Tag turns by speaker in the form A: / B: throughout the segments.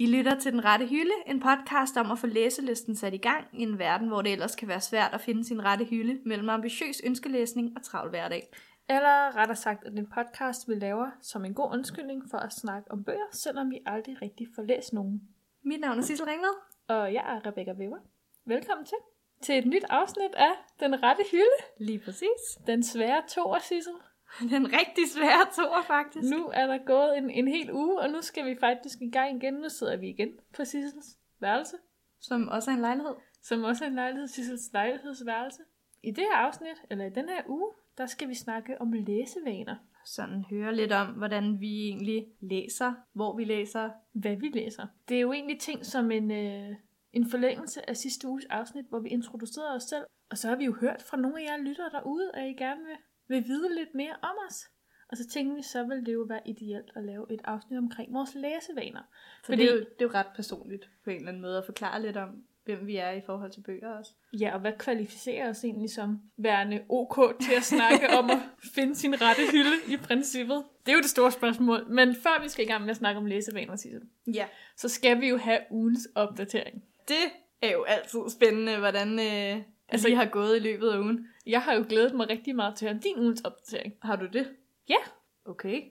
A: lytter til Den Rette Hylde, en podcast om at få læselisten sat i gang i en verden, hvor det ellers kan være svært at finde sin rette hylde mellem ambitiøs ønskelæsning og travl hverdag.
B: Eller rettere sagt, at den podcast, vi laver som en god undskyldning for at snakke om bøger, selvom vi aldrig rigtig får læst nogen.
A: Mit navn er Sissel Ringved.
B: Og jeg er Rebecca Weber. Velkommen til til et nyt afsnit af Den Rette Hylde.
A: Lige præcis.
B: Den svære toer, Sissel.
A: Den rigtig svære toer, faktisk.
B: Nu er der gået en, en hel uge, og nu skal vi faktisk i gang igen. Nu sidder vi igen på Sissels værelse,
A: Som også er en lejlighed.
B: som også er en lejlighed, Sissels lejlighedsværelse. I det her afsnit, eller i den her uge, der skal vi snakke om læsevaner.
A: Sådan høre lidt om, hvordan vi egentlig læser, hvor vi læser.
B: hvad vi læser. Det er jo egentlig ting som en, øh, en forlængelse af sidste uges afsnit, hvor vi introducerede os selv. Og så har vi jo hørt fra nogle af jer lyttere derude, at I gerne vil, vil vide lidt mere om os. Og så tænkte vi, så ville det jo være ideelt at lave et afsnit omkring vores læsevaner.
A: For Fordi... det, er jo, det er jo ret personligt på en eller anden måde at forklare lidt om, hvem vi er i forhold til bøger også.
B: Ja, og hvad kvalificerer os egentlig som værende ok til at snakke om at finde sin rette hylde i princippet? Det er jo det store spørgsmål. Men før vi skal i gang med at snakke om læsevaner, Sissel,
A: Ja.
B: så skal vi jo have ugens opdatering.
A: Det er jo altid spændende, hvordan øh, altså,
B: Altså-
A: lige har gået i løbet af ugen.
B: Jeg har jo glædet mig rigtig meget til at høre din ugens opdatering.
A: Har du det?
B: Ja.
A: Okay.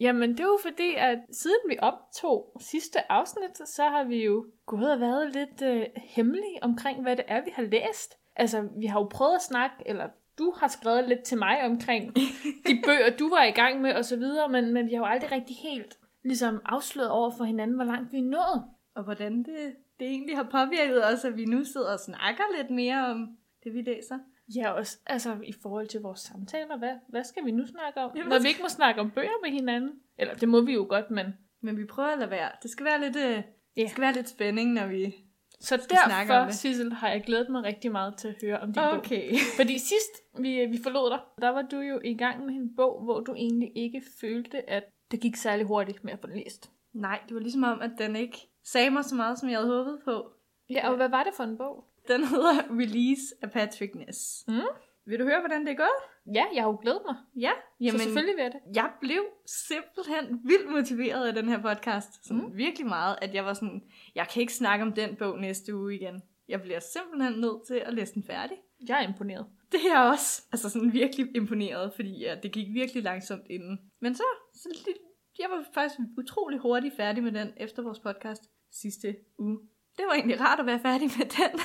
B: Jamen, det er jo fordi, at siden vi optog sidste afsnit, så har vi jo gået og været lidt øh, hemmelige omkring, hvad det er, vi har læst. Altså, vi har jo prøvet at snakke, eller du har skrevet lidt til mig omkring de bøger, du var i gang med osv., men, men vi har jo aldrig rigtig helt ligesom afsløret over for hinanden, hvor langt vi er nået.
A: Og hvordan det, det egentlig har påvirket os, at vi nu sidder og snakker lidt mere om det, vi læser.
B: Ja, også altså, i forhold til vores samtaler, hvad, hvad skal vi nu snakke om?
A: Jamen,
B: Når vi ikke må snakke om bøger med hinanden, eller det må vi jo godt, men
A: Men vi prøver at lade være. Det skal være lidt, øh,
B: Ja.
A: det skal være lidt spænding, når vi...
B: Så
A: snakke om
B: derfor,
A: det.
B: Sissel, har jeg glædet mig rigtig meget til at høre om din bog.
A: Okay.
B: Fordi sidst vi, vi forlod dig, der var du jo i gang med en bog, hvor du egentlig ikke følte, at det gik særlig hurtigt med at få den læst.
A: Nej, det var ligesom om, at den ikke sagde mig så meget, som jeg havde håbet på.
B: Ja, og hvad var det for en bog?
A: Den hedder Release af Patrick Ness.
B: Mm.
A: Vil du høre, hvordan det er gået?
B: Ja, jeg har jo glædet mig.
A: Ja,
B: Jamen, så selvfølgelig vil jeg det.
A: jeg blev simpelthen vildt motiveret af den her podcast. Sådan mm. virkelig meget, at jeg var sådan, jeg kan ikke snakke om den bog næste uge igen. Jeg bliver simpelthen nødt til at læse den færdig.
B: Jeg er imponeret.
A: Det er jeg også altså sådan virkelig imponeret, fordi ja, det gik virkelig langsomt inden. Men så, så lidt, jeg var faktisk utrolig hurtigt færdig med den efter vores podcast sidste uge. Det var egentlig rart at være færdig med den.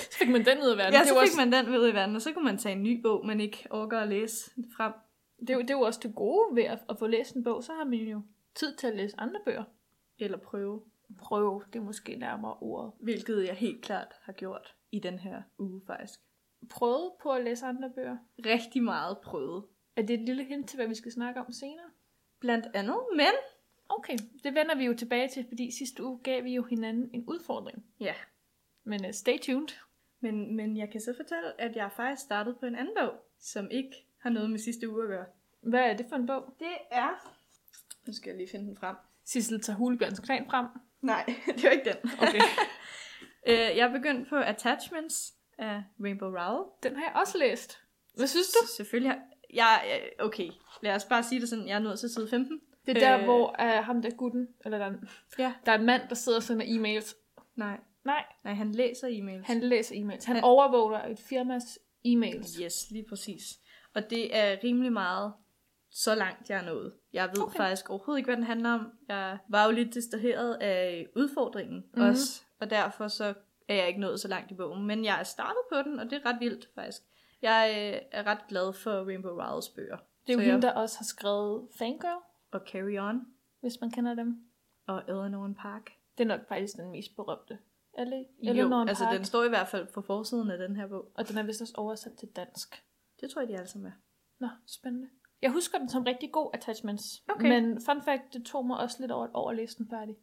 B: Så fik man den ud af verden.
A: ja,
B: det,
A: så
B: er jo
A: fik
B: også,
A: man den ved i verden, og så kunne man tage en ny bog, man ikke orker at læse frem.
B: det, er jo, det er jo også det gode ved at, at få læst en bog. Så har man jo tid til at læse andre bøger.
A: Eller prøve,
B: Prøv, det er måske nærmere ordet.
A: hvilket jeg helt klart har gjort i den her uge faktisk.
B: Prøvet på at læse andre bøger.
A: Rigtig meget prøvet.
B: Er det et lille hint til, hvad vi skal snakke om senere?
A: Blandt andet, men...
B: Okay, det vender vi jo tilbage til, fordi sidste uge gav vi jo hinanden en udfordring.
A: Ja,
B: Men uh, stay tuned.
A: men, men jeg kan så fortælle, at jeg faktisk startede på en anden bog, som ikke har noget med sidste uge at gøre.
B: Hvad er det for en bog?
A: Det er... Nu skal jeg lige finde den frem.
B: Sissel tager Hulebjørns Klan frem.
A: Nej, det var ikke den.
B: Okay.
A: Øh, jeg er begyndt på Attachments af Rainbow Rowell.
B: Den har jeg også læst. Hvad synes du?
A: S- Selvfølgelig har... Jeg, øh, okay, lad os bare sige det sådan. Jeg er nået til side 15.
B: Det er der,
A: Øh.
B: øh... hvor uh, ham der gutten, eller der, er en-
A: Ja.
B: der er en mand, der sidder og sender e-mails.
A: Nej,
B: Nej,
A: nej, han læser e-mails.
B: han læser e-mails. Han
A: Han-
B: overvåger et firmas e-mails.
A: Yes, lige præcis. Og det er rimelig meget så langt jeg er nået. Jeg ved okay.
B: Okay.
A: faktisk overhovedet ikke, hvad den handler om. Jeg var jo lidt distraheret af udfordringen
B: Mhm.
A: mm-hmm. også, og derfor så er jeg ikke nået så langt i bogen. Men jeg er startet på den, og det er ret vildt faktisk. Jeg øh, er ret glad for Rainbow Rowells bøger.
B: Det er jo
A: Så jeg-
B: hende, der også har skrevet Fangirl,
A: Og Carry On
B: hvis man kender dem.
A: og Eleanor and Park.
B: Det er nok faktisk den mest berømte. Eller,
A: jo,
B: Eleanor
A: altså
B: Park.
A: den står i hvert fald på forsiden af den her bog.
B: Og den er vist også oversat til dansk.
A: Det tror jeg, de alle sammen er.
B: Nå, spændende. Jeg husker den som rigtig god attachments.
A: Okay.
B: Men fun fact, det tog mig også lidt over et år at læse den færdig.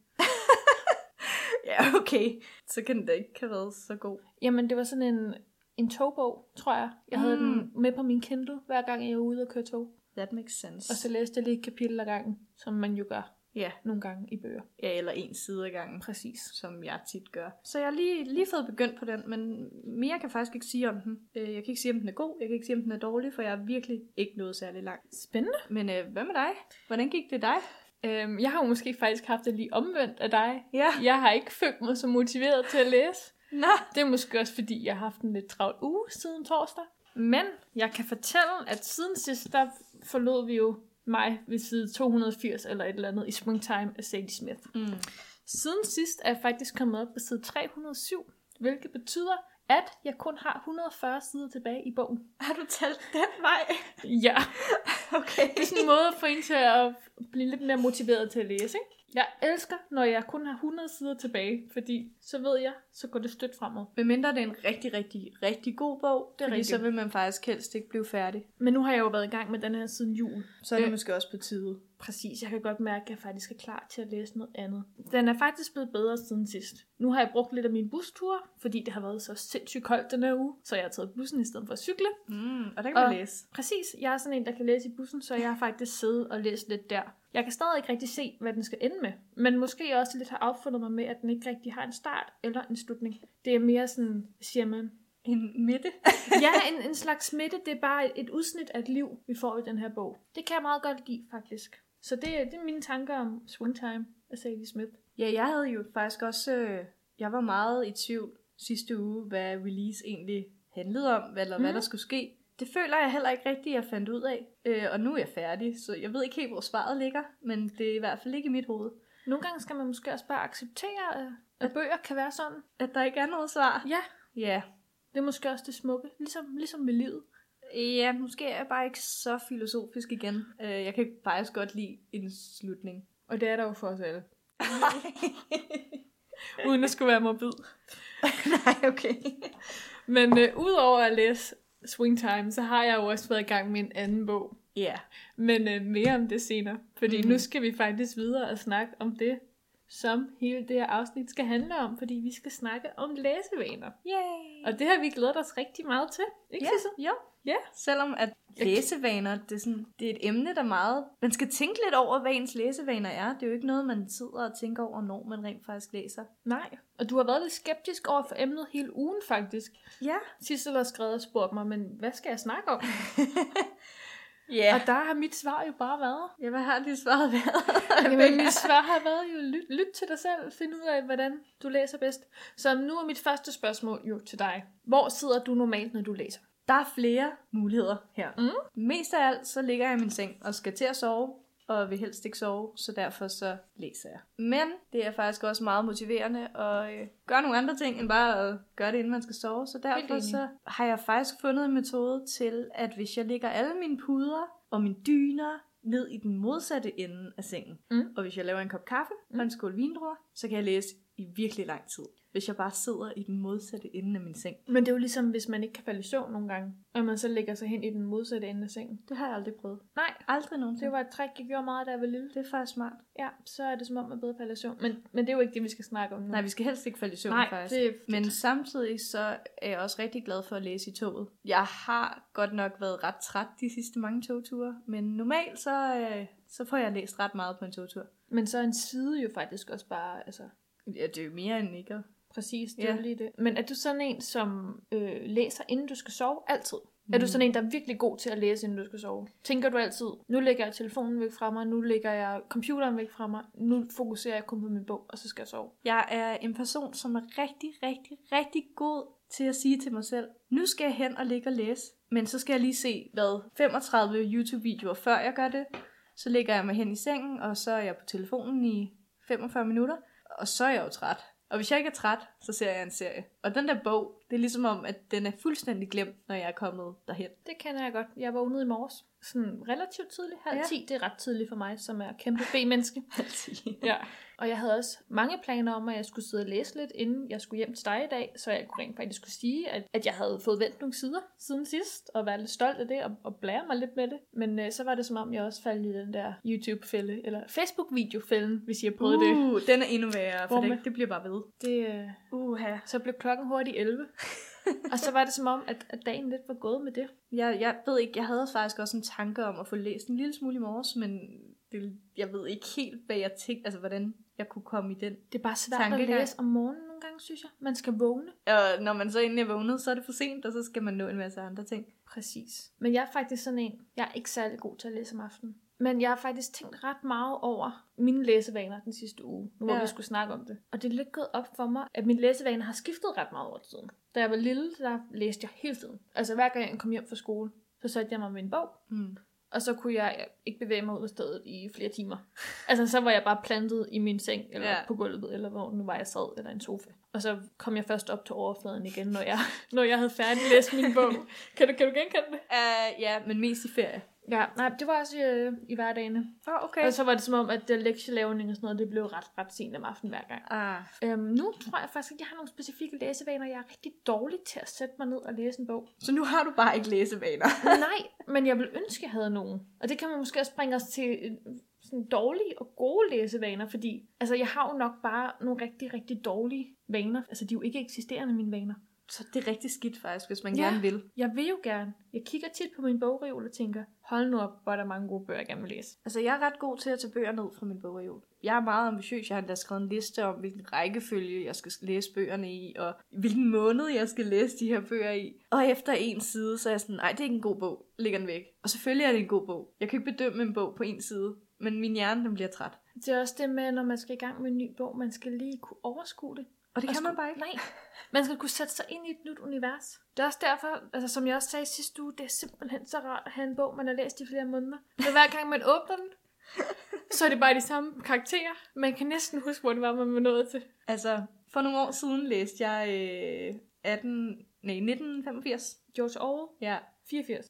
A: Ja, okay. Så kan den da ikke have været så god.
B: Jamen, det var sådan en, en togbog, tror jeg. Jeg havde
A: Mm.
B: den med på min Kindle, hver gang jeg var ude og køre tog.
A: That makes sense.
B: Og så læste jeg lige et kapitel ad gangen, som man jo gør
A: Ja,
B: nogle gange i bøger.
A: ja eller en side ad gangen.
B: Præcis.
A: som jeg tit gør. Så jeg har lige, lige fået begyndt på den, men mere kan jeg faktisk ikke sige om den. Øh, Jeg kan ikke sige, om den er god, jeg kan ikke sige, om den er dårlig, for jeg er virkelig ikke nået særlig langt.
B: Spændende.
A: Men øh, hvad med dig? Hvordan gik det dig?
B: Øhm, jeg har jo måske faktisk haft det lige omvendt af dig.
A: Ja.
B: Jeg har ikke følt mig så motiveret til at læse.
A: Nå.
B: Det er måske også, fordi jeg har haft en lidt travl uge siden torsdag. Men jeg kan fortælle, at siden sidst, der forlod vi jo mig ved side 280 eller et eller andet i Springtime af Sadie Smith.
A: Mm.
B: Siden sidst er jeg faktisk kommet op på side 307, hvilket betyder, at jeg kun har 140 sider tilbage i bogen.
A: Har du talt den vej?
B: Ja,
A: Okay.
B: det er sådan en måde at få en til at blive lidt mere motiveret til at læse, ikke? Jeg elsker, når jeg kun har 100 sider tilbage, fordi så ved jeg, så går det stødt fremad.
A: Medmindre det er en rigtig, rigtig, rigtig god bog, det
B: er
A: fordi
B: rigtigt.
A: så vil man faktisk helst ikke blive færdig.
B: Men nu har jeg jo været i gang med den her siden jul.
A: Så er det
B: Øh.
A: måske også på tide.
B: Præcis, jeg kan godt mærke, at jeg faktisk er klar til at læse noget andet. Den er faktisk blevet bedre siden sidst. Nu har jeg brugt lidt af min bustur, fordi det har været så sindssygt koldt den her uge, så jeg har taget bussen i stedet for at cykle.
A: Mm, og der kan
B: Og-
A: man læse.
B: Præcis, jeg er sådan en, der kan læse i bussen, så jeg har faktisk siddet og læst lidt der. Jeg kan stadig ikke rigtig se, hvad den skal ende med, men måske også lidt har affundet mig med, at den ikke rigtig har en start eller en slutning. Det er mere sådan, hvad siger man,
A: En midte.
B: ja, en, en slags smitte, det er bare et, et udsnit af et liv, vi får i den her bog. Det kan jeg meget godt lide, faktisk. Så det, det er mine tanker om Swingtime af Sadie Smith.
A: Ja, jeg havde jo faktisk også... Øh, jeg var meget i tvivl sidste uge, hvad release egentlig handlede om, eller mm. hvad
B: Mhm.
A: der skulle ske. Det føler jeg heller ikke rigtigt, jeg fandt ud af. Øh, og nu er jeg færdig, så jeg ved ikke helt, hvor svaret ligger, men det er i hvert fald ikke i mit hoved,
B: Nogle gange skal man måske også bare acceptere, at, at bøger kan være sådan.
A: at der ikke er noget svar.
B: Ja,
A: Ja,
B: det er måske også det smukke, ligesom, ligesom med livet.
A: ja måske er jeg bare ikke så filosofisk igen. Øh, jeg kan faktisk godt lide en slutning.
B: Og det er der jo for os alle. Uden at skulle være morbid.
A: Nej, okay.
B: Men øh, udover at læse Swingtime, så har jeg jo også været i gang med en anden bog.
A: Ja.
B: Men øh, mere om det senere, fordi mm-hmm.
A: Mhm.
B: nu skal vi faktisk videre og snakke om det, som hele det her afsnit skal handle om, fordi vi skal snakke om læsevaner.
A: Yay!
B: Og det har vi glædet os rigtig meget til, ikke
A: Ja,
B: Sisse?
A: jo.
B: Ja.
A: Selvom at læsevaner, det er, sådan, det er et emne, der meget... Man skal tænke lidt over, hvad ens læsevaner er. Det er jo ikke noget, man sidder og tænker over, når man rent faktisk læser.
B: Nej. Og du har været lidt skeptisk over for emnet hele ugen faktisk.
A: Ja.
B: Sissel har skrevet og spurgt mig, men hvad skal jeg snakke om?
A: Ja.
B: Og der har mit svar jo bare været.
A: Ja, hvad har de svaret været?
B: Jamen, mit svar har været jo, lyt, lyt til dig selv, find ud af, hvordan du læser bedst. Så nu er mit første spørgsmål jo til dig. Hvor sidder du normalt, når du læser?
A: Der er flere muligheder her.
B: Mm.
A: Mest af alt, så ligger jeg i min seng og skal til at sove, og vil helst ikke sove, så derfor så læser jeg. Men det er faktisk også meget motiverende at øh, gøre nogle andre ting, end bare at gøre det, inden man skal sove. Så
B: Helt
A: derfor
B: enig.
A: så har jeg faktisk fundet en metode til, at hvis jeg lægger alle mine puder og mine dyner ned i den modsatte ende af sengen,
B: Mm.
A: og hvis jeg laver en kop kaffe og en skål vindruer, så kan jeg læse i virkelig lang tid, hvis jeg bare sidder i den modsatte ende af min seng.
B: Men det er jo ligesom, hvis man ikke kan falde i søvn nogle gange, og man så lægger sig hen i den modsatte ende af sengen.
A: Det har jeg aldrig prøvet.
B: Nej,
A: Aldrig nogensinde.
B: det var et træk, jeg gjorde meget, da jeg var lille.
A: Det er faktisk smart.
B: Ja, så er det som om, man bedre falder i søvn. Men, men det er jo ikke det, vi skal snakke om nu.
A: Nej, vi skal helst ikke falde i søvn
B: Nej
A: faktisk.
B: det er...
A: Men samtidig så er jeg også rigtig glad for at læse i toget. Jeg har godt nok været ret træt de sidste mange togture, men normalt så, øh, så får jeg læst ret meget på en togtur.
B: men så er en side jo faktisk også bare, altså...
A: Ja, det er jo mere end ikke.
B: Præcis, det er
A: Ja.
B: jo lige det. Men er du sådan en, som øh, læser, inden du skal sove? Altid. Mm. Er du sådan en, der er virkelig god til at læse, inden du skal sove? Tænker du altid, nu lægger jeg telefonen væk fra mig, nu lægger jeg computeren væk fra mig, nu fokuserer jeg kun på min bog, og så skal jeg sove?
A: Jeg er en person, som er rigtig, rigtig, rigtig god til at sige til mig selv, nu skal jeg hen og ligge og læse, men så skal jeg lige se, hvad, 35 YouTube-videoer før jeg gør det. Så ligger jeg mig hen i sengen, og så er jeg på telefonen i 45 minutter, og så er jeg jo træt. Og hvis jeg ikke er træt, så ser jeg en serie. Og den der bog, det er ligesom om, at den er fuldstændig glemt, når jeg er kommet derhen.
B: Det kender jeg godt. Jeg vågnede i morges. Sådan relativt tidligt. Halv
A: Ja.
B: ti, det er ret tidligt for mig, som er kæmpe B-menneske. ja. Og jeg havde også mange planer om, at jeg skulle sidde og læse lidt, inden jeg skulle hjem til dig i dag, så jeg kunne rent faktisk kunne sige, at, at jeg havde fået vendt nogle sider siden sidst, og være lidt stolt af det, og, og blære mig lidt med det. Men øh, så var det som om, jeg også faldt i den der YouTube-fælde, eller Facebook-videofælden, hvis jeg prøvede det.
A: Uh, den er endnu værre, for
B: Hvor
A: det,
B: med-
A: det bliver bare ved.
B: det øh,
A: Uha.
B: så blev klokken hurtigt 11. og så var det som om, at, at dagen lidt var gået med det.
A: Jeg, jeg ved ikke, jeg havde faktisk også en tanke om at få læst en lille smule i morges, men det, jeg ved ikke helt, hvad jeg tænkte, altså hvordan jeg kunne komme i den.
B: Det er bare svært
A: Tankegang.
B: at læse om morgenen nogle gange, synes jeg. Man skal vågne.
A: Og når man så endelig er vågnet, så er det for sent, og så skal man nå en masse andre ting.
B: Præcis. Men jeg er faktisk sådan en, jeg er ikke særlig god til at læse om aftenen. Men jeg har faktisk tænkt ret meget over mine læsevaner den sidste uge, nu hvor
A: Ja.
B: vi skulle snakke om det. Og det er lidt gået op for mig, at mine læsevaner har skiftet ret meget over tiden. Da jeg var lille, der læste jeg hele tiden. Altså hver gang jeg kom hjem fra skole, så satte jeg mig med en bog,
A: Mm.
B: og så kunne jeg ikke bevæge mig ud af stedet i flere timer. Altså, så var jeg bare plantet i min seng, eller
A: Ja.
B: ja. på gulvet, eller hvor nu var jeg sad, eller en sofa. Og så kom jeg først op til overfladen igen, når jeg, når jeg havde færdiglæst min bog. Kan du, kan du genkende det?
A: Uh, ja, men mest i ferie.
B: Ja, nej, det var også øh, i hverdagene.
A: Åh, oh,
B: Okay. Og så var det som om, at øh, lektielavning og sådan noget, det blev ret, ret sent om aftenen hver gang.
A: Ah,
B: Øhm, nu tror jeg faktisk, at jeg har nogle specifikke læsevaner. Jeg er rigtig dårlig til at sætte mig ned og læse en bog.
A: så nu har du bare ikke læsevaner.
B: Nej, men jeg ville ønske, jeg havde nogen. Og det kan man måske også bringe os til øh, sådan dårlige og gode læsevaner, fordi altså, jeg har jo nok bare nogle rigtig, rigtig dårlige vaner. Altså, de er jo ikke eksisterende, mine vaner.
A: Så det er rigtig skidt faktisk, hvis man
B: Ja.
A: gerne vil.
B: Jeg vil jo gerne. Jeg kigger tit på min bogreol og tænker, hold nu op, hvor er der mange gode bøger, jeg gerne vil læse.
A: Altså, jeg er ret god til at tage bøger ned fra min bogreol. Jeg er meget ambitiøs. Jeg har endda skrevet en liste om, hvilken rækkefølge jeg skal læse bøgerne i, og hvilken måned jeg skal læse de her bøger i. Og efter en side, så er jeg sådan, nej, det er ikke en god bog. Lægger den væk. Og selvfølgelig er det en god bog. Jeg kan ikke bedømme en bog på en side, men min hjerne, den bliver træt.
B: Det er også det med, når man skal i gang med en ny bog, man skal lige kunne overskue det.
A: Og det
B: Og
A: kan man
B: skulle-
A: bare ikke.
B: Nej, man skal kunne sætte sig ind i et nyt univers. Det er også derfor, altså, som jeg også sagde sidste uge, det er simpelthen så rart at have en bog, man har læst i flere måneder. Men hver gang man åbner den, så er det bare de samme karakterer. Man kan næsten huske, hvor det var, man var nået til.
A: Altså, for nogle år siden læste jeg øh, 18, nej, 1985.
B: George Orwell,
A: Ja,
B: 84.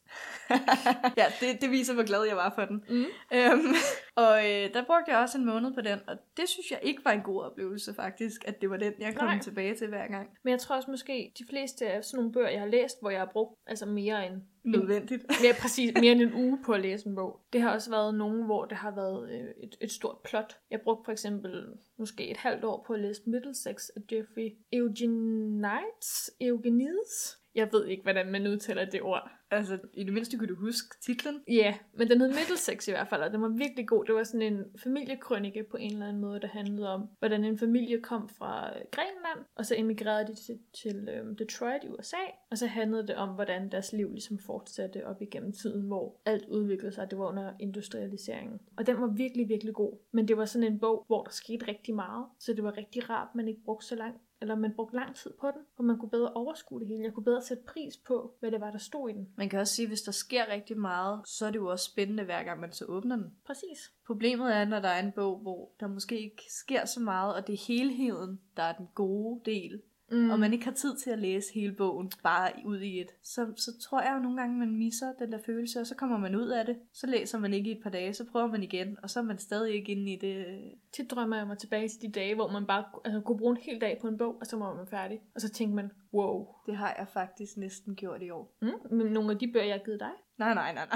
A: ja det, det viser, hvor glad jeg var for den.
B: Mm.
A: Øhm, og øh, der brugte jeg også en måned på den, og det synes jeg ikke var en god oplevelse faktisk, at det var den, jeg kom
B: Nej.
A: Nej. tilbage til hver gang.
B: Men jeg tror også måske, de fleste af sådan nogle bøger, jeg har læst, hvor jeg har brugt altså mere end
A: Nødvendigt.
B: mere præcis mere end en uge på at læse en bog. Det har også været nogen, hvor det har været øh, et, et stort plot. Jeg brugte for eksempel måske et halvt år på at læse Middlesex af Jeffrey Eugenides. Eugenides? Jeg ved ikke, hvordan man udtaler det ord.
A: altså, i det mindste kunne du huske titlen.
B: Ja, yeah, men den hed Middlesex i hvert fald, og den var virkelig god. Det var sådan en familiekrønike på en eller anden måde, der handlede om, hvordan en familie kom fra øh, Grækenland, og så emigrerede de til, til øhm, Detroit i USA, og så handlede det om, hvordan deres liv ligesom fortsatte op igennem tiden, hvor alt udviklede sig, det var under industrialiseringen. Og den var virkelig, virkelig god, men det var sådan en bog, hvor der skete rigtig meget, så det var rigtig rart, man ikke brugte så lang eller man brugte lang tid på den, og man kunne bedre overskue det hele. Jeg kunne bedre sætte pris på, hvad det var, der stod i den.
A: Man kan også sige, at hvis der sker rigtig meget, så er det jo også spændende, hver gang man så åbner den.
B: Præcis.
A: Problemet er, når der er en bog, hvor der måske ikke sker så meget, og det er helheden, der er den gode del,
B: Mm.
A: mm. og man ikke har tid til at læse hele bogen bare i- ud i et, så, så tror jeg jo nogle gange, man misser den der følelse, og så kommer man ud af det, så læser man ikke i et par dage, så prøver man igen, og så er man stadig ikke inde i det.
B: Tit drømmer jeg mig tilbage til de dage, hvor man bare altså, kunne bruge en hel dag på en bog, og så var man færdig. Og så tænkte man, wow.
A: Det har jeg faktisk næsten gjort i år.
B: Mm, men nogle af de bøger, jeg har givet dig.
A: Nej, nej, nej,
B: Nå,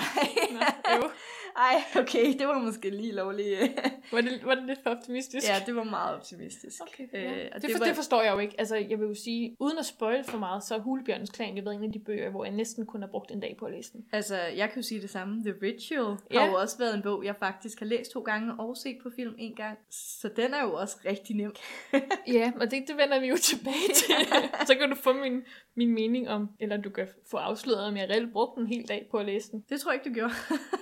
A: nej.
B: jo.
A: Ej, okay, det var måske lige lovligt. øh.
B: Var det, var det lidt for optimistisk?
A: ja, det var meget optimistisk.
B: Okay,
A: Øh,
B: ja.
A: og
B: det, for,
A: var-
B: det forstår jeg jo ikke. Altså, jeg vil jo sige, uden at spoil for meget, så er Hulebjørnens Klan jo været en af de bøger, hvor jeg næsten kun har brugt en dag på at læse den.
A: Altså, jeg kan jo sige det samme. The Ritual ja.
B: Ja.
A: har jo også været en bog, jeg faktisk har læst to gange og set på film en gang. Så den er jo også rigtig nem.
B: Ja, og det, det vender vi jo tilbage til. så kan du få min, min mening om, eller du kan få afsløret, om jeg reelt brugte en hel dag på at læse den.
A: Det tror jeg ikke, du gjorde.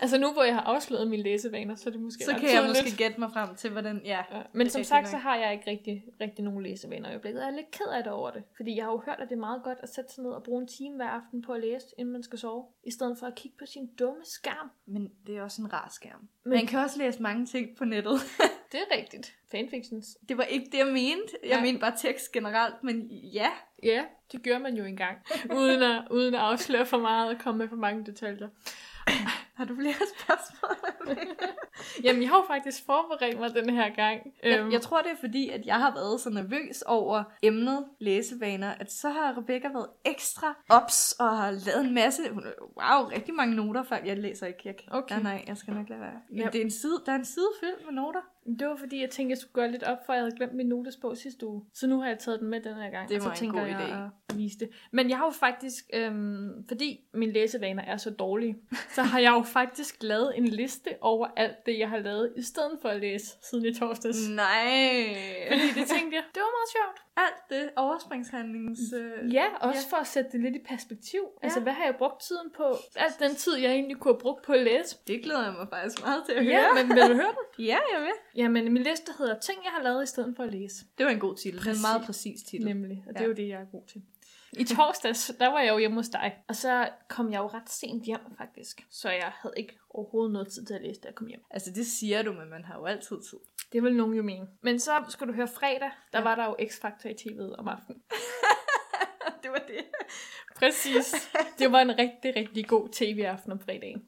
B: Altså nu, hvor jeg har afsløret mine læsevaner, så er det måske
A: så
B: ret
A: kan jeg
B: tydeligt.
A: måske gætte mig frem til, hvordan... Ja,
B: Ja, men
A: Det er
B: som
A: rigtigt
B: sagt,
A: nok.
B: så har jeg ikke rigtig, rigtig nogen læsevaner i øjeblikket. og Jeg er lidt ked af det over det. Fordi jeg har jo hørt, at det er meget godt at sætte sig ned og bruge en time hver aften på at læse, inden man skal sove. I stedet for at kigge på sin dumme skærm.
A: men det er også en rar skærm.
B: Men-
A: Men... Man kan også læse mange ting på nettet.
B: Det er rigtigt. Fanfictions.
A: det var ikke det, jeg mente. Jeg
B: Nej.
A: mente bare tekst generelt, men ja.
B: Ja, det gør man jo engang. Uden at, uden at afsløre for meget og komme med for mange detaljer.
A: Har du flere spørgsmål?
B: Jamen, jeg har jo faktisk forberedt mig den her gang. Øhm,
A: jeg, jeg tror, det er fordi, at jeg har været så nervøs over emnet læsevaner, at så har Rebecca været ekstra ops og har lavet en masse, hun- wow, rigtig mange noter, for jeg læser ikke. Jeg kan,
B: Okay.
A: Nej, nej, jeg skal nok lade være. Men
B: Ja.
A: det er en side, der er en side fyldt med noter.
B: Det var fordi, jeg tænkte, jeg skulle gøre lidt op, for jeg havde glemt min notesbog sidste uge. Så nu har jeg taget den med den her gang.
A: Det
B: og så
A: var en
B: tænker
A: god
B: jeg
A: idé.
B: At vise det. Men jeg har jo faktisk, øhm, fordi mine læsevaner er så dårlige, så har jeg jo faktisk lavet en liste over alt det, jeg har lavet, i stedet for at læse siden i torsdags. Mm.
A: Nej.
B: Fordi det tænkte jeg, det var meget sjovt.
A: Alt det overspringshandlings... Øh,
B: Ja, også ja. for at sætte det lidt i perspektiv. Ja. Altså,
A: Ja.
B: hvad har jeg brugt tiden på? Alt den tid, jeg egentlig kunne have brugt på at læse.
A: Det glæder jeg mig faktisk meget til at høre.
B: Ja, men vil du høre den?
A: ja jeg vil.
B: Jamen, min liste hedder Ting, jeg har lavet i stedet for at læse.
A: Det var en god titel. Præcis. En
B: Præcis.
A: meget præcis titel.
B: Nemlig, og det
A: Ja.
B: er jo det, jeg er god til. I torsdags, der var jeg jo hjemme hos dig, og så kom jeg jo ret sent hjem faktisk, så jeg havde ikke overhovedet noget tid til at læse, da jeg kom hjem.
A: Altså, det siger du, men man har jo altid tid.
B: Det vil nogen jo mene. Men så skal du høre fredag, der
A: Ja.
B: var der jo X-Factor i tv'et om aftenen.
A: det var det.
B: Præcis. Det var en rigtig, rigtig god tv-aften om fredagen.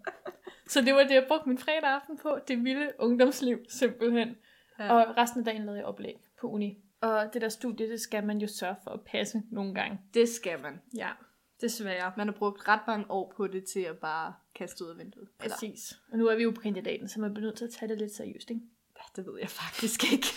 B: Så det var det, jeg brugte min fredag aften på, det vilde ungdomsliv simpelthen.
A: Ja.
B: Ja. Og resten af dagen lavede jeg oplæg på uni. Og det der studie, det skal man jo sørge for at passe nogle gange.
A: Det skal man.
B: Ja, desværre.
A: Man har brugt ret mange år på det til at bare kaste ud af vinduet. Eller,
B: Præcis. Og nu er vi jo på kandidaten, så man bliver nødt til at tage det lidt seriøst, ikke?
A: ja, det ved jeg faktisk ikke.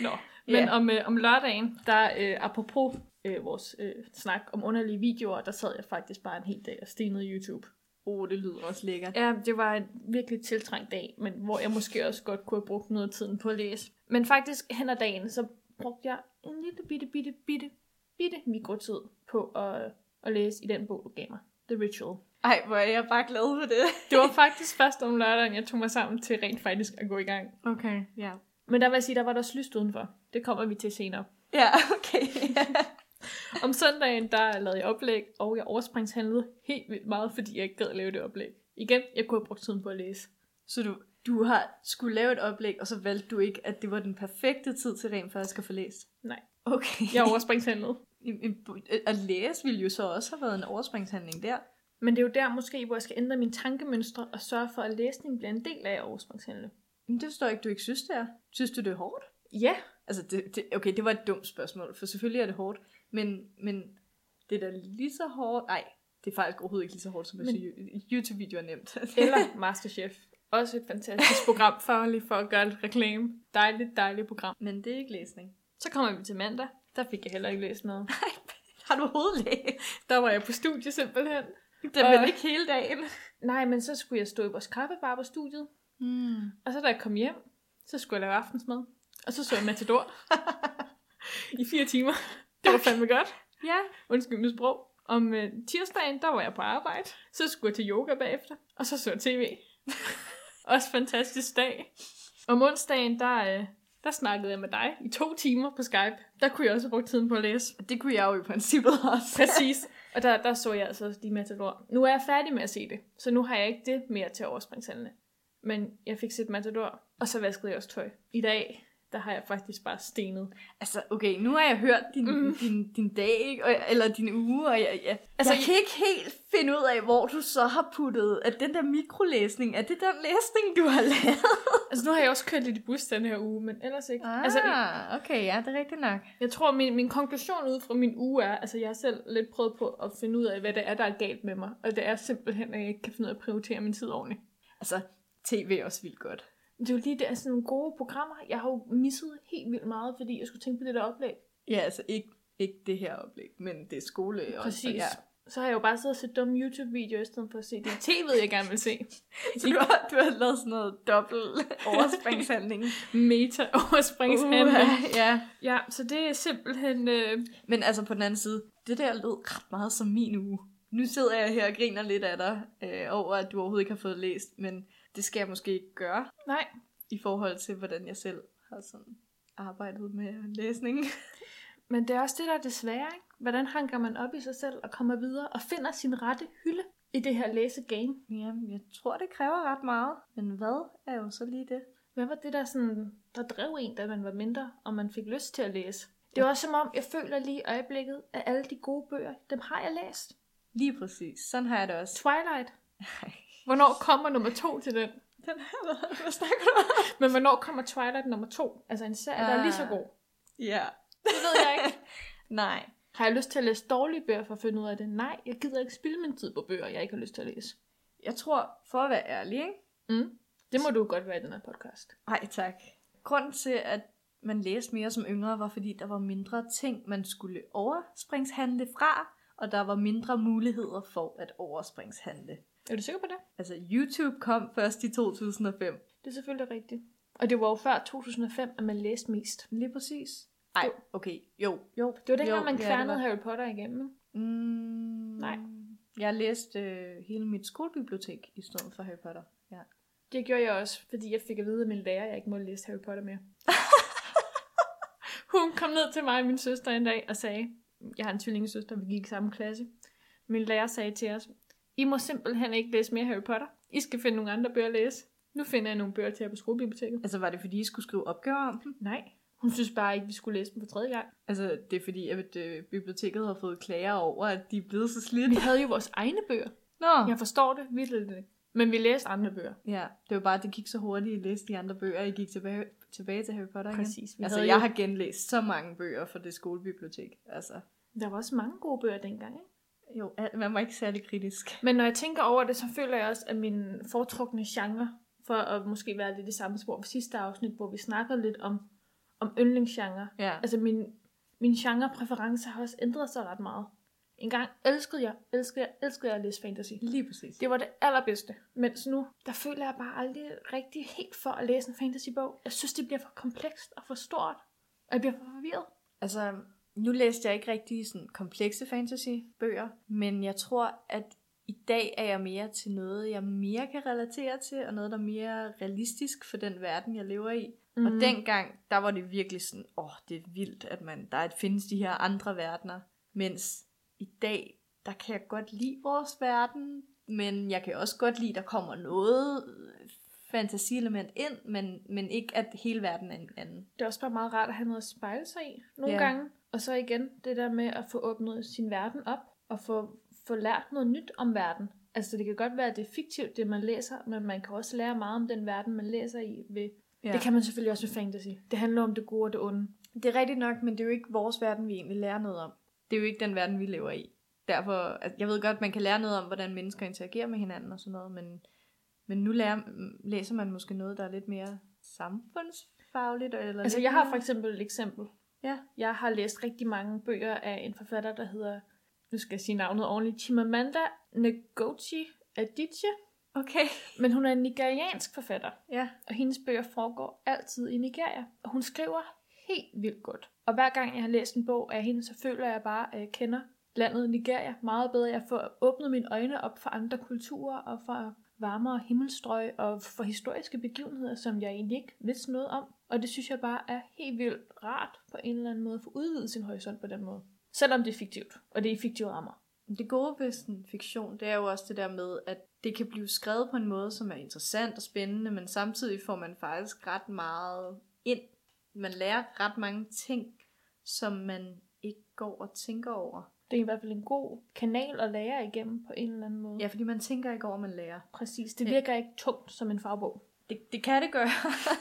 B: Nå.
A: Ja.
B: Men yeah. om, øh, om lørdagen, der øh, apropos øh, vores øh, snak om underlige videoer, der sad jeg faktisk bare en hel dag og stenede YouTube.
A: oh, det lyder også lækkert.
B: Ja, det var en virkelig tiltrængt dag, men hvor jeg måske også godt kunne have brugt noget af tiden på at læse. Men faktisk hen ad dagen, så brugte jeg en lille bitte, bitte, bitte, bitte mikrotid på at, at læse i den bog, du gav mig. The Ritual.
A: Ej, hvor er jeg bare glad for det.
B: Det var faktisk først om lørdagen, jeg tog mig sammen til rent faktisk at gå i gang.
A: Okay, ja.
B: Men der vil jeg sige, der var der også lyst udenfor. Det kommer vi til senere.
A: Ja, okay.
B: Om søndagen, der lavede jeg oplæg, og jeg overspringshandlede helt vildt meget, fordi jeg ikke gad at lave det oplæg. Igen, jeg kunne have brugt tiden på at læse.
A: Så du, du har skulle lave et oplæg, og så valgte du ikke, at det var den perfekte tid til rent faktisk at få læst?
B: Nej.
A: Okay.
B: Jeg overspringshandlede.
A: En- en- At læse ville jo så også have været en overspringshandling der.
B: Men det er jo der måske, hvor jeg skal ændre mine tankemønstre og sørge for, at læsning bliver en del af at overspringshandle.
A: Men det forstår jeg ikke, du ikke synes, det er. Synes du, det er hårdt?
B: Ja,
A: Altså, det, det, okay, det var et dumt spørgsmål, for selvfølgelig er det hårdt, men, men det er da lige så hårdt... Nej, det er faktisk overhovedet ikke lige så hårdt, som at
B: Men-
A: sige, YouTube-video er nemt.
B: eller Masterchef. Også et fantastisk program for, lige for at gøre lidt reklame. Dejligt, dejligt program.
A: men det er ikke læsning.
B: Så kommer vi til mandag. Der fik jeg heller ikke læst noget.
A: Har du overhovedet læst?
B: Der var jeg på studie simpelthen.
A: Det er
B: Og-
A: vel ikke hele dagen.
B: Nej, men så skulle jeg stå i vores kaffebar på studiet.
A: Hmm.
B: Og så da jeg kom hjem, så skulle jeg lave aftensmad. Og så så jeg Matador. I fire timer. Det var fandme godt.
A: Ja.
B: Undskyld mit sprog. Om øh, tirsdagen, der var jeg på arbejde. Så skulle jeg til yoga bagefter. Og så så jeg tv. Også fantastisk dag. Om onsdagen, der, øh, der snakkede jeg med dig i to timer på Skype. Der kunne jeg også bruge tiden på at læse.
A: Det kunne jeg jo i princippet også.
B: Præcis. Og der, der så jeg altså også de Matador. Nu er jeg færdig med at se det, så nu har jeg ikke det mere til overspringshandlene. Men jeg fik set Matador, og så vaskede jeg også tøj. I dag, der har jeg faktisk bare stenet.
A: Altså, okay, nu har jeg hørt din, mm.
B: Mm.
A: din, din dag, ikke? Og, eller din uge, og jeg, jeg, altså,
B: Altså,
A: jeg kan ikke helt finde ud af, hvor du så har puttet, at den der mikrolæsning, er det den læsning, du har lavet?
B: Altså nu har jeg også kørt lidt i bus den her uge, men ellers ikke. Altså,
A: Ah, okay, ja, det er rigtigt nok.
B: jeg tror, min, min konklusion ud fra min uge er, altså jeg har selv lidt prøvet på at finde ud af, hvad det er, der er galt med mig. Og det er simpelthen, at jeg ikke kan finde ud af at prioritere min tid ordentligt.
A: Altså, tv er også vildt godt.
B: Det er jo lige det, altså nogle gode programmer. Jeg har jo misset helt vildt meget, fordi jeg skulle tænke på det der oplæg.
A: Ja, altså, ikke, ikke det her oplæg, men det er skole også.
B: Præcis.
A: Ja.
B: Ja. Så har jeg jo bare siddet og set dumme YouTube-videoer i stedet for at se det tv, jeg gerne vil se.
A: Så du har, du har lavet sådan noget dobbelt overspringshandling.
B: Meta-overspringshandling. Uh,
A: ja.
B: ja, så det er simpelthen... Øh,
A: Men altså på den anden side, det der lød ret meget som min uge. Nu sidder jeg her og griner lidt af dig øh, over, at du overhovedet ikke har fået læst, men det skal jeg måske ikke gøre
B: nej,
A: i forhold til, hvordan jeg selv har sådan arbejdet med læsning.
B: men det er også det, der er det svære, ikke? Hvordan hanker man op i sig selv og kommer videre og finder sin rette hylde i det her læsegame?
A: Jamen, jeg tror, det kræver ret meget. Men hvad er jo så lige det?
B: Hvad var det, der, sådan, der drev en, da man var mindre, og man fik lyst til at læse? Det var også som om, jeg føler lige i øjeblikket, at alle de gode bøger, dem har jeg læst.
A: Lige præcis. Sådan har jeg det også.
B: Twilight.
A: Ej.
B: Hvornår kommer nummer to til den?
A: Den her, hvad, hvad snakker du om?
B: Men hvornår kommer Twilight nummer to? Altså en serie, der er lige så god.
A: Ja.
B: Det ved jeg ikke.
A: Nej.
B: Har jeg lyst til at læse dårlige bøger for at finde ud af det? Nej, jeg gider ikke spilde min tid på bøger, jeg ikke har lyst til at læse.
A: Jeg tror, for at være ærlig, ikke?
B: Mm. Det må du godt være i den her podcast.
A: Nej, tak. Grunden til, at man læste mere som yngre, var fordi, der var mindre ting, man skulle overspringshandle fra, og der var mindre muligheder for at overspringshandle.
B: Er du sikker på det?
A: Altså, YouTube kom først i 2005.
B: Det er selvfølgelig rigtigt. Og det var jo før 2005, at man læste mest.
A: Lige præcis. Nej, okay. Jo.
B: Jo, det var dengang,
A: Jo,
B: man
A: ja, det
B: kværnede
A: var-
B: Harry Potter igennem. ikke?
A: Mm,
B: Nej.
A: Jeg læste øh, hele mit skolebibliotek i stedet for Harry Potter. Ja.
B: Det gjorde jeg også, fordi jeg fik at vide af min lærer, at jeg ikke måtte læse Harry Potter mere. Hun kom ned til mig og min søster en dag og sagde, jeg har en tvillingesøster, vi gik i samme klasse. Min lærer sagde til os, I må simpelthen ikke læse mere Harry Potter. I skal finde nogle andre bøger at læse. Nu finder jeg nogle bøger til jer på skolebiblioteket.
A: Altså var det fordi, I skulle skrive opgaver om dem?
B: Nej, hun synes bare ikke, vi skulle læse dem for tredje gang.
A: Altså det er fordi, at øh, biblioteket har fået klager over, at de er blevet så
B: Vi
A: slidt.
B: havde jo vores egne bøger.
A: Nå.
B: Jeg forstår det virkelig det. Men vi læste andre bøger.
A: Ja, det var bare, at det gik så hurtigt, at I læste de andre bøger, og I gik tilbage, tilbage til Harry Potter igen.
B: Præcis. Vi
A: Altså,
B: havde
A: jeg
B: jo-
A: har genlæst så mange bøger fra det skolebibliotek. Altså,
B: Der var også mange gode bøger dengang, ikke?
A: jo, al- man var ikke særlig kritisk.
B: Men når jeg tænker over det, så føler jeg også, at min foretrukne genre, for at måske være lidt i samme spor på sidste afsnit, hvor vi snakkede lidt om, om yndlingsgenre.
A: Ja.
B: Altså min, min genrepræference har også ændret sig ret meget. En gang elskede jeg, elskede jeg, elskede jeg at læse fantasy.
A: Lige præcis.
B: Det var det allerbedste. Mens nu, der føler jeg bare aldrig rigtig helt for at læse en fantasybog. Jeg synes, det bliver for komplekst og for stort. Og jeg bliver for forvirret.
A: Altså, nu læste jeg ikke rigtig sådan komplekse fantasy-bøger, men jeg tror, at i dag er jeg mere til noget, jeg mere kan relatere til, og noget, der er mere realistisk for den verden, jeg lever i. Mm. Og
B: Mhm.
A: dengang, der var det virkelig sådan, åh, oh, det er vildt, at man, der at findes de her andre verdener. Mens i dag, der kan jeg godt lide vores verden, men jeg kan også godt lide, at der kommer noget øh, fantasielement ind, men, men ikke at hele verden er en anden.
B: Det er også bare meget rart at have noget at spejle sig i nogle
A: Ja.
B: gange. Og så igen det der med at få åbnet sin verden op og få, få lært noget nyt om verden. Altså det kan godt være, at det er fiktivt, det man læser, men man kan også lære meget om den verden, man læser i. Ved. Ja. Det kan man selvfølgelig også med fantasy. Det handler om det gode og det onde.
A: Det er rigtigt nok, men det er jo ikke vores verden, vi egentlig lærer noget om. Det er jo ikke den verden, vi lever i. Derfor, altså, jeg ved godt, man kan lære noget om, hvordan mennesker interagerer med hinanden og sådan noget, men, men nu lærer, m- læser man måske noget, der er lidt mere samfundsfagligt. Eller
B: Altså
A: lidt
B: jeg har
A: mere-
B: for eksempel et eksempel.
A: Ja.
B: Jeg har læst rigtig mange bøger af en forfatter, der hedder, nu skal jeg sige navnet ordentligt, Chimamanda Ngozi Adichie.
A: Okay.
B: Men hun er en nigeriansk forfatter.
A: Ja.
B: og hendes bøger foregår altid i Nigeria. Og hun skriver helt vildt godt. Og hver gang jeg har læst en bog af hende, så føler jeg bare, at jeg kender landet Nigeria meget bedre. Jeg får åbnet mine øjne op for andre kulturer og for varmere himmelstrøg og for historiske begivenheder, som jeg egentlig ikke vidste noget om. Og det synes jeg bare er helt vildt rart på en eller anden måde at få udvidet sin horisont på den måde. Selvom det er fiktivt, og det er i fiktive rammer.
A: Det gode ved sådan fiktion, det er jo også det der med, at det kan blive skrevet på en måde, som er interessant og spændende, men samtidig får man faktisk ret meget ind. Man lærer ret mange ting, som man ikke går og tænker over.
B: Det er i hvert fald en god kanal at lære igennem på en eller anden måde.
A: Ja, fordi man tænker ikke over, at man lærer.
B: Præcis. Det virker ikke tungt som en fagbog.
A: Det, det kan det gøre.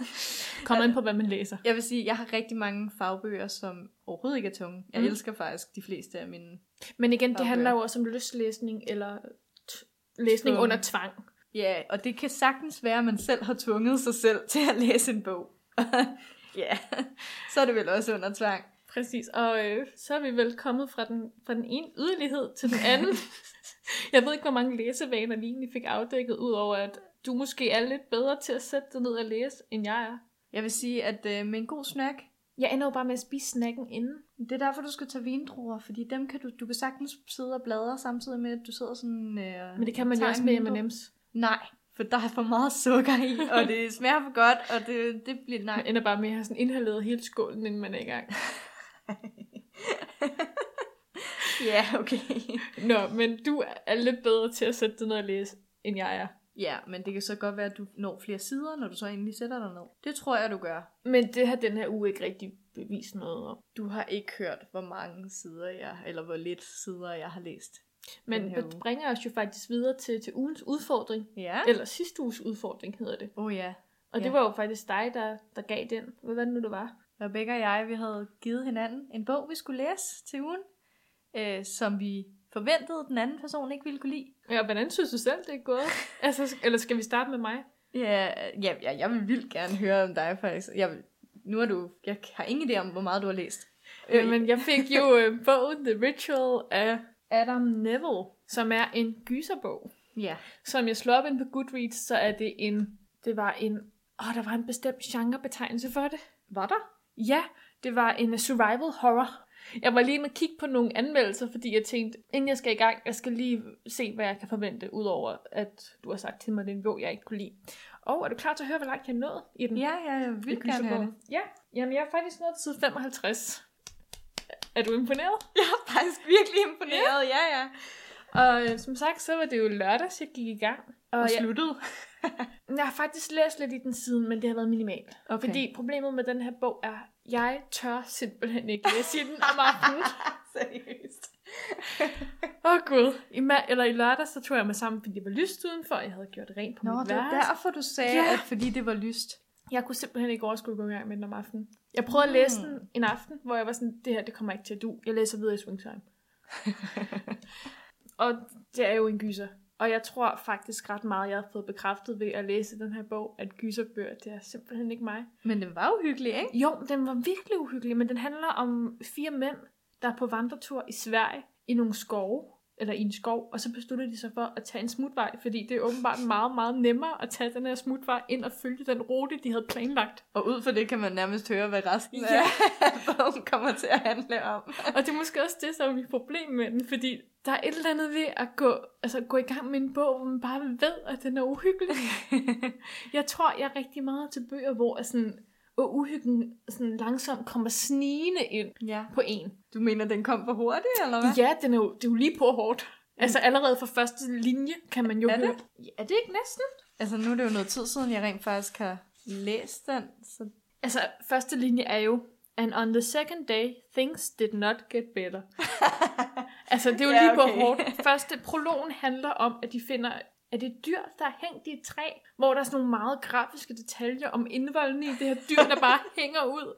B: Kommer ind på, hvad man læser.
A: jeg vil sige, jeg har rigtig mange fagbøger, som overhovedet ikke er tunge. Jeg
B: Mm.
A: mm. elsker faktisk de fleste af mine.
B: Men igen, det
A: Fagbøger.
B: handler jo også om lystlæsning, eller t- læsning
A: Tvungen.
B: under tvang.
A: Ja, og det kan sagtens være, at man selv har tvunget sig selv til at læse en bog. ja, så er det vel også under tvang.
B: Præcis, og øh, så er vi vel kommet fra den, fra den ene yderlighed til den anden. jeg ved ikke, hvor mange læsevaner vi egentlig fik afdækket, udover at du måske er lidt bedre til at sætte dig ned og læse, end jeg er.
A: Jeg vil sige, at øh, med en god snack,
B: Jeg ender jo bare med at spise snacken inden.
A: det er derfor, du skal tage vindruer, fordi dem kan du, du kan sagtens sidde og bladre samtidig med, at du sidder sådan... Øh,
B: Men det kan man jo
A: tager
B: også
A: en
B: med
A: vindrue.
B: M&M's.
A: Nej, for der er for meget sukker i, og det smager for godt, og det, det bliver... Nej,
B: Man ender bare med at have sådan inhaleret hele skålen, inden man er i gang.
A: ja, okay.
B: Nå, men du er lidt bedre til at sætte dig ned og læse, end jeg er.
A: Ja, men det kan så godt være, at du når flere sider, når du så endelig sætter dig ned. Det tror jeg, du gør.
B: Men det har den her uge ikke rigtig bevist noget om.
A: Du har ikke hørt, hvor mange sider jeg, eller hvor lidt sider jeg har læst. den
B: Men
A: her
B: det
A: uge.
B: bringer os jo faktisk videre til, til ugens udfordring.
A: Ja?
B: Eller sidste uges udfordring hedder det.
A: Åh oh, ja.
B: Og det
A: Ja.
B: var jo faktisk dig, der, der gav den. Hvad var det nu, det var?
A: Rebecca og jeg, vi havde givet hinanden en bog, vi skulle læse til ugen, øh, som vi forventede, den anden person ikke ville kunne lide.
B: Ja, hvordan synes du selv, det er gået? altså, eller skal vi starte med mig?
A: Ja, ja, ja, jeg vil vildt gerne høre om dig, faktisk. Jeg, vil- nu har du, jeg har ingen idé om, hvor meget du har læst.
B: Øh, men jeg fik jo øh, bogen The Ritual af Adam Neville, som er en gyserbog.
A: Ja.
B: Som jeg slår op ind på Goodreads, så er det en... Det var en... Åh, der var en bestemt genrebetegnelse for det.
A: Var der?
B: Ja, Det var en øh, survival horror. Jeg var lige inde og kigge på nogle anmeldelser, fordi jeg tænkte, inden jeg skal i gang, jeg skal lige se, hvad jeg kan forvente, udover at du har sagt til mig, at det er en bog, jeg ikke kunne lide. Og er du klar til at høre, hvor langt jeg nåede i den?
A: Ja, ja, jeg
B: I
A: vil gerne have Mm. det.
B: gyserbogen? Ja, jamen jeg er faktisk nået til side 55. Er du imponeret?
A: Jeg er faktisk virkelig imponeret, ja, ja.
B: Og øh, som sagt, så var det jo lørdags, jeg gik i gang.
A: Og
B: Og, jeg,
A: sluttet.
B: jeg har faktisk læst lidt i den siden, men det har været minimalt.
A: Okay.
B: Fordi problemet med den her bog er, jeg tør simpelthen ikke læse i den om aftenen.
A: Seriøst.
B: Åh oh, gud. I ma- eller i lørdag, så tog jeg mig sammen, fordi det var lyst udenfor, og jeg havde gjort rent på
A: Nå,
B: mit
A: det var
B: værelse.
A: derfor, du sagde,
B: Ja.
A: ja. at fordi det var lyst.
B: Jeg kunne simpelthen ikke overskue at gå i gang med den om aftenen. Jeg prøvede at læse den en aften, hvor jeg var sådan, det her, det kommer ikke til at du. Jeg læser videre i Swingtime. og det er jo en gyser. Og jeg tror faktisk ret meget, jeg har fået bekræftet ved at læse den her bog, at gyserbøger, det er simpelthen ikke mig.
A: Men det var jo hyggeligt, ikke?
B: Jo, den var virkelig uhyggelig, men den handler om fire mænd, der er på vandretur i Sverige i nogle skove, eller i en skov, og så beslutter de sig for at tage en smutvej, fordi det er åbenbart meget, meget nemmere at tage den her smutvej ind og følge den rute, de havde planlagt.
A: Og ud for det kan man nærmest høre, hvad resten
B: Ja.
A: af bogen kommer til at handle om.
B: Og det er måske også det, som er mit problem med den, fordi der er et eller andet ved at gå, altså gå i gang med en bog, hvor man bare ved, at den er uhyggelig. jeg tror, jeg er rigtig meget til bøger, hvor sådan, og uhyggen sådan langsomt kommer snigende ind
A: Ja.
B: på en.
A: Du mener, den kom for hurtigt, eller hvad?
B: Ja, den er jo, det er jo lige på hårdt. Altså allerede fra første linje kan man jo
A: Er det?
B: høre. Er det ikke næsten?
A: Altså, nu er det jo noget tid siden, jeg rent faktisk har læst den, så
B: Altså, første linje er jo, and on the second day, things did not get better. altså, det er jo
A: Ja,
B: lige på
A: okay.
B: hårdt. Første prologen handler om, at de finder, at det er dyr, der er hængt i et træ, hvor der er sådan nogle meget grafiske detaljer om indvoldene i det her dyr, der bare hænger ud.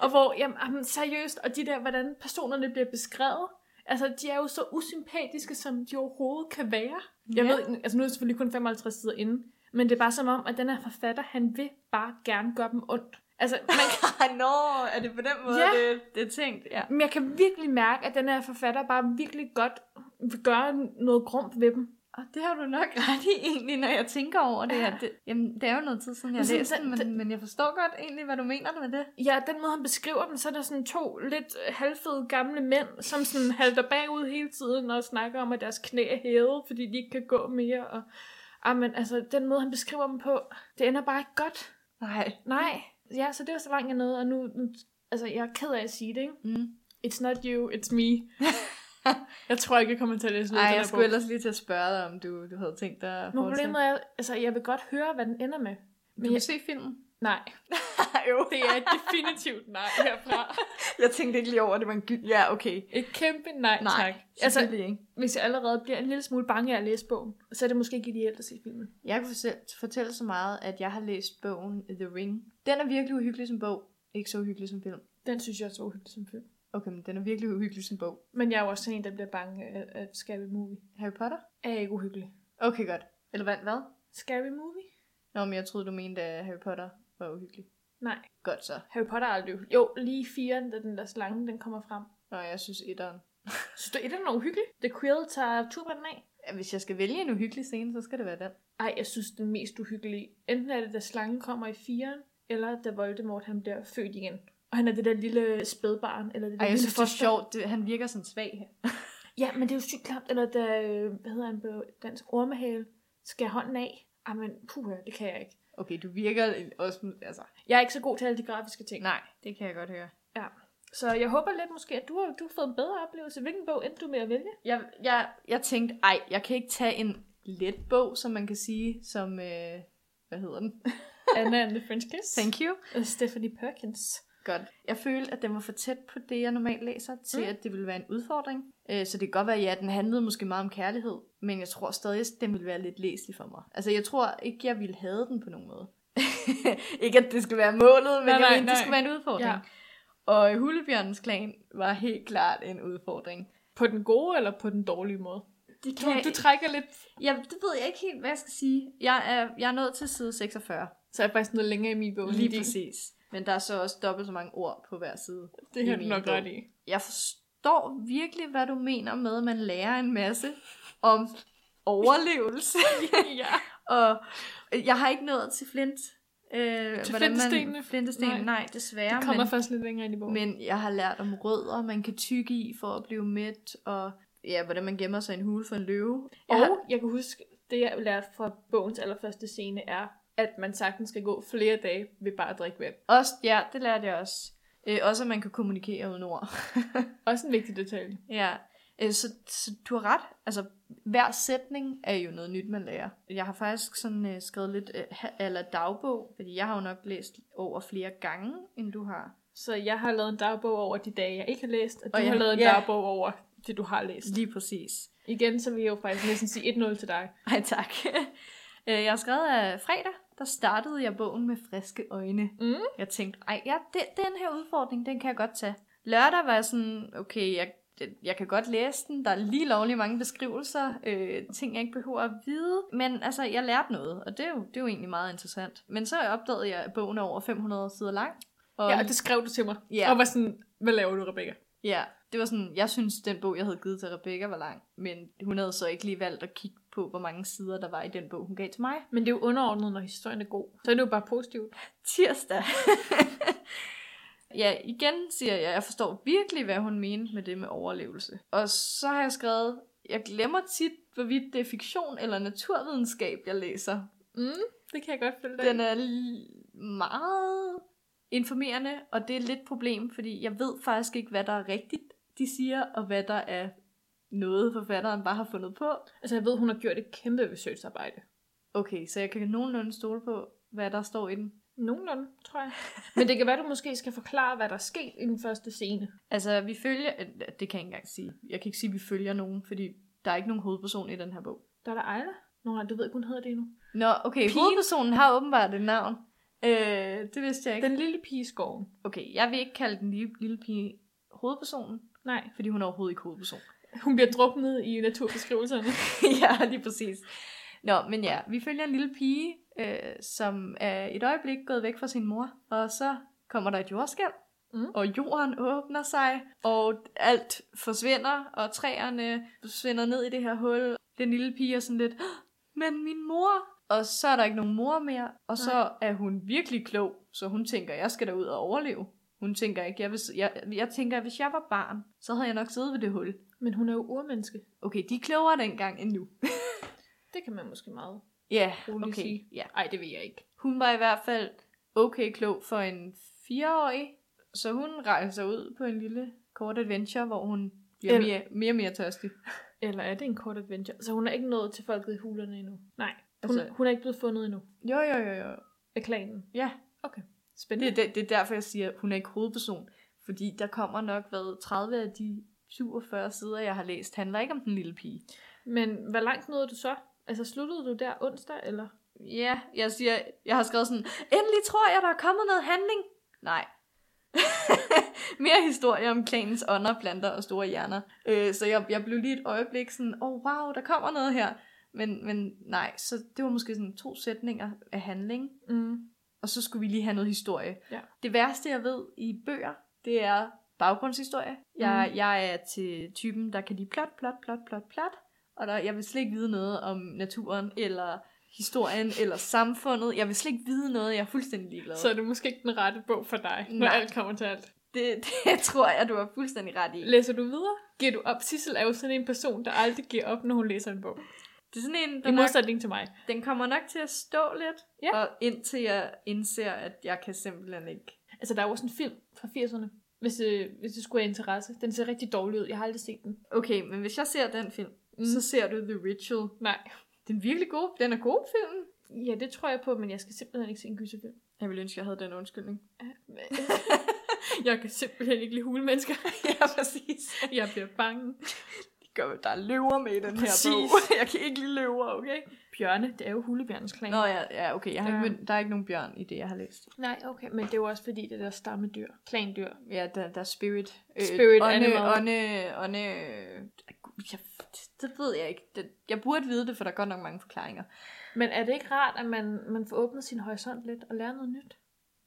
B: Og hvor, jamen, jamen, seriøst, og de der, hvordan personerne bliver beskrevet, altså, de er jo så usympatiske, som de overhovedet kan være. Jeg
A: Ja.
B: ved, altså nu er det selvfølgelig kun 55 sider inde, men det er bare som om, at den her forfatter, han vil bare gerne gøre dem ondt. Altså, man,
A: Ej, nå, er det på den måde,
B: Ja.
A: det, det er tænkt? Ja.
B: men jeg kan virkelig mærke, at den her forfatter bare virkelig godt vil gøre noget grumt ved dem.
A: Og det har du nok ret i egentlig, når jeg tænker over det.
B: Ja.
A: Ja. det jamen, det er jo noget tid siden, jeg
B: Men
A: læste
B: sådan,
A: den,
B: den-
A: men, men jeg forstår godt egentlig, hvad du mener med det.
B: Ja, den måde, han beskriver dem, så er der sådan to lidt øh, halvfede gamle mænd, som sådan halter bagud hele tiden og snakker om, at deres knæ er hævet, fordi de ikke kan gå mere. Og, ah, men altså, den måde, han beskriver dem på, det ender bare ikke godt.
A: Nej.
B: Nej. Ja, så det var så langt jeg nåede, og nu, nu altså, jeg er ked af at sige det, ikke?
A: Mm.
B: It's not you, it's me. jeg tror ikke, jeg kommer til at læse
A: Ej,
B: videre
A: jeg
B: den her
A: skulle
B: bog.
A: ellers lige til at spørge dig, om du, du havde tænkt dig at
B: Men
A: fortsætte.
B: problemet er, altså, jeg vil godt høre, hvad den ender med.
A: Du
B: Men
A: kan
B: jeg,
A: se filmen.
B: nej,
A: jo,
B: det er et definitivt nej herfra.
A: jeg tænkte ikke lige over, at det var en gyld. Ja, okay.
B: Et kæmpe nej,
A: Nej,
B: nej tak. Altså,
A: selvfølgelig ikke.
B: hvis jeg allerede bliver en lille smule bange af at læse bogen, så er det måske ikke ideelt at se filmen.
A: Jeg kunne selv fortælle så meget, at jeg har læst bogen The Ring. Den er virkelig uhyggelig som bog. Ikke så uhyggelig som film.
B: Den synes jeg er så uhyggelig som film.
A: Okay, men den er virkelig uhyggelig som bog.
B: Men jeg er jo også sådan en, der bliver bange af, af Scary Movie.
A: Harry Potter?
B: Er jeg ikke uhyggelig?
A: Okay, godt. Eller hvad? hvad?
B: Scary Movie?
A: Nå, men jeg troede, du mente, at Harry Potter var uhyggelig.
B: Nej.
A: Godt så.
B: Harry Potter er aldrig uhyggelig. Jo, lige firen, da den der slange, den kommer frem.
A: Nå, jeg synes etteren.
B: Synes du, et er uhyggelig? The Quill tager turbanen af.
A: Ja, Hvis jeg skal vælge en uhyggelig scene, så skal det være den.
B: Ej, jeg synes, den mest uhyggelige. Enten er det, da slangen kommer i firen, eller da Voldemort han bliver født igen. Og han er det der lille spædbarn, eller det der
A: Ej, jeg
B: lille
A: synes, det er
B: foster.
A: sjovt. Det, han virker sådan svag her.
B: Ja, men det er jo sygt klamt. Eller da, øh, hvad hedder han på dansk, ormehale, skærer hånden af. Ej, men puha, det kan jeg ikke.
A: Okay, du virker også... Altså,
B: Jeg er ikke så god til alle de grafiske ting.
A: nej, det kan jeg godt høre.
B: Ja. Så jeg håber lidt måske, at du har, du har fået en bedre oplevelse. Hvilken bog endte du med at vælge?
A: Jeg, jeg, jeg tænkte, ej, jeg kan ikke tage en let bog, som man kan sige, som... Øh, hvad hedder den?
B: Anna and the French Kiss.
A: Thank you.
B: Og Stephanie Perkins.
A: Godt. Jeg følte, at den var for tæt på det, jeg normalt læser, til mm. at det ville være en udfordring. Øh, så det kan godt være, ja, den handlede måske meget om kærlighed, men jeg tror stadig, at den ville være lidt læselig for mig. Altså, jeg tror ikke, jeg ville have den på nogen måde. ikke, at det skulle være målet, men
B: Nej,
A: nej, jeg
B: nej,
A: mente, det
B: nej.
A: skulle være en udfordring.
B: Ja.
A: Ja. Og Hulebjørnens Klan var helt klart en udfordring.
B: På den gode eller på den dårlige måde?
A: Det
B: Du, du trækker lidt.
A: ja, det ved jeg ikke helt, hvad jeg skal sige. Jeg er, jeg er nået til side 46.
B: Så er jeg faktisk noget længere i min bog. end i
A: Lige
B: din.
A: præcis. Men der er så også dobbelt så mange ord på hver side.
B: Det har
A: i
B: du
A: min
B: nok
A: bog.
B: ret i.
A: Jeg forstår virkelig, hvad du mener med, at man lærer en masse om overlevelse.
B: ja.
A: og jeg har ikke nået til Flint. Øh,
B: Til
A: hvordan man-
B: flintestenene?
A: Flintestenene, nej, desværre.
B: Det kommer
A: men,
B: først lidt længere ind i bogen.
A: men jeg har lært om rødder, man kan tykke i for at blive mæt, og ja, hvordan man gemmer sig i en hule for en løve. Jeg
B: Og
A: har,
B: jeg kan huske, det jeg lærte fra bogens allerførste scene er, at man sagtens skal gå flere dage ved bare at drikke vand.
A: også, ja, det lærte jeg også. Øh, også at man kan kommunikere uden ord.
B: Også en vigtig detalje.
A: Ja, øh, så, så du har ret. Altså, hver sætning er jo noget nyt, man lærer. Jeg har faktisk sådan øh, skrevet lidt øh, ha- eller dagbog, fordi jeg har jo nok læst over flere gange, end du har.
B: Så jeg har lavet en dagbog over de dage, jeg ikke har læst, og du
A: Og
B: og
A: jeg-
B: har lavet en
A: ja.
B: dagbog over det, du har læst.
A: Lige præcis.
B: Igen, så vil jeg jo faktisk næsten sige 1-0 til dig.
A: Ej, tak. Øh, jeg har skrevet af fredag, der startede jeg bogen med friske øjne.
B: Mm.
A: Jeg tænkte, ej, ja, det, den her udfordring, den kan jeg godt tage. Lørdag var jeg sådan, okay, jeg, det- jeg kan godt læse den. Der er lige lovlig mange beskrivelser, øh, ting jeg ikke behøver at vide. Men altså, jeg lærte noget, og det er jo, det er jo egentlig meget interessant. Men så opdagede jeg, at bogen er over 500 sider lang. Og,
B: Ja, og det skrev du til mig.
A: Ja.
B: Og var sådan, hvad laver du, Rebecca?
A: ja, det var sådan, jeg synes, den bog, jeg havde givet til Rebecca, var lang. Men hun havde så ikke lige valgt at kigge på, hvor mange sider, der var i den bog, hun gav til mig.
B: Men det er jo underordnet, når historien er god. Så er det jo bare positivt.
A: tirsdag. ja, igen siger jeg, jeg forstår virkelig, hvad hun mente med det med overlevelse. Og så har jeg skrevet, jeg glemmer tit, hvorvidt det er fiktion eller naturvidenskab, jeg læser.
B: Mm, det kan jeg godt følge dig.
A: Den er l- meget informerende, og det er lidt et problem, fordi jeg ved faktisk ikke, hvad der er rigtigt, de siger, og hvad der er noget, forfatteren bare har fundet på.
B: Altså, jeg ved, hun har gjort et kæmpe researcharbejde.
A: Okay, så jeg kan nogenlunde stole på, hvad der står i den.
B: Nogenlunde, tror jeg. Men det kan være, du måske skal forklare, hvad der er sket i den første scene.
A: Altså, vi følger... øh, Det kan jeg ikke engang sige. Jeg kan ikke sige, at vi følger nogen, fordi der er ikke nogen hovedperson i den her bog.
B: Der er der Ejla. Nå, nej, du ved ikke, hun hedder det endnu.
A: Nå, okay.
B: Pigen.
A: Hovedpersonen har åbenbart et navn. Øh, det vidste jeg ikke. Den...
B: Den lille pige i skoven.
A: Okay, jeg vil ikke kalde den lille, lille pige hovedpersonen,
B: Nej,
A: fordi hun er overhovedet ikke hovedperson.
B: hun bliver druknet i naturbeskrivelserne.
A: ja, lige præcis. Nå, men ja, vi følger en lille pige, øh, som er et øjeblik gået væk fra sin mor, og så kommer der et jordskælv,
B: Mm.
A: og jorden åbner sig, og alt forsvinder, og træerne forsvinder ned i det her hul. Den lille pige er sådan lidt, "Åh, men min mor! Og så er der ikke nogen mor mere, og så er hun virkelig klog, så hun tænker, jeg skal derud og overleve. Hun tænker ikke, jeg, vil, s- jeg, jeg tænker, at hvis jeg var barn, så havde jeg nok siddet ved det hul.
B: Men hun er jo urmenneske.
A: Okay, de er klogere dengang end nu.
B: Det kan man måske meget.
A: Ja,
B: Roligt
A: okay.
B: sige.
A: Ja.
B: Nej, det ved jeg ikke.
A: Hun var i hvert fald okay klog for en fireårig, så hun rejser ud på en lille kort adventure, hvor hun bliver
B: Eller-
A: mere, mere og mere tørstig.
B: Eller er det en kort adventure? Så hun er ikke nået til folket i hulerne endnu. Nej, hun,
A: Altså-
B: altså... hun er ikke blevet fundet endnu
A: Jo, jo, jo, jo.
B: af klanen.
A: Ja,
B: Okay,
A: det
B: spændende.
A: er, det, det er derfor, jeg siger, at hun er ikke hovedperson. Fordi der kommer nok, hvad, 30 af de 47 sider, jeg har læst, handler ikke om den lille pige.
B: Men hvor langt nåede du så? Altså, sluttede du der onsdag, eller?
A: Ja, jeg siger, jeg har skrevet sådan, endelig tror jeg, der er kommet noget handling. Nej. Mere historie om klanens ånder, planter og store hjerner. Øh, så jeg, jeg blev lige et øjeblik sådan, åh oh, wow, der kommer noget her. Men, men nej, så det var måske sådan to sætninger af handling,
B: Mm.
A: og så skulle vi lige have noget historie.
B: Ja.
A: Det værste, jeg ved i bøger, det er baggrundshistorie. Jeg,
B: Mhm.
A: mm. jeg er til typen, der kan lide plot, plot, plot, plot, plot. Og der, jeg vil slet ikke vide noget om naturen, eller historien, eller samfundet. Jeg vil slet ikke vide noget, jeg er fuldstændig ligeglad.
B: Så er det måske ikke den rette bog for dig, når
A: Nej.
B: alt kommer til alt.
A: Det, det tror jeg, du har fuldstændig ret i.
B: Læser du videre? Giver du op? Sissel er jo sådan en person, der aldrig giver op, når hun læser en bog.
A: Det er sådan en, der
B: I
A: nok,
B: modsætning til mig.
A: den kommer nok til at stå lidt,
B: Ja.
A: og indtil jeg indser, at jeg kan simpelthen ikke.
B: Altså, der er jo også en film fra 80'erne, hvis, øh, hvis det skulle have interesse. Den ser rigtig dårlig ud. Jeg har aldrig set den.
A: Okay, men hvis jeg ser den film,
B: Mhm.
A: mm. så ser du The Ritual.
B: Nej.
A: Den er virkelig god. Den er god, filmen.
B: Ja, det tror jeg på, men jeg skal simpelthen ikke se en gyserfilm.
A: Jeg ville ønske, jeg havde den undskyldning.
B: jeg kan simpelthen ikke lide hulemennesker.
A: ja, præcis.
B: Jeg bliver bange.
A: Det gør, der er løver med i den
B: Præcis.
A: her bog. Jeg kan ikke lide løver, okay?
B: Bjørne, det er jo hulebjørnens klan.
A: Nå ja, ja okay. Jeg har ikke,
B: Ja.
A: mødt- der er ikke nogen bjørn i det, jeg har læst.
B: Nej, okay, men det er jo også fordi, det er der stammedyr. Klandyr.
A: Ja, der, der er spirit. øh,
B: Spirit
A: ånde,
B: animal.
A: Ånde, ånde, jeg, det ved jeg ikke. Det, jeg burde vide det, for der er godt nok mange forklaringer.
B: Men er det ikke rart, at man, man får åbnet sin horisont lidt og lærer noget nyt?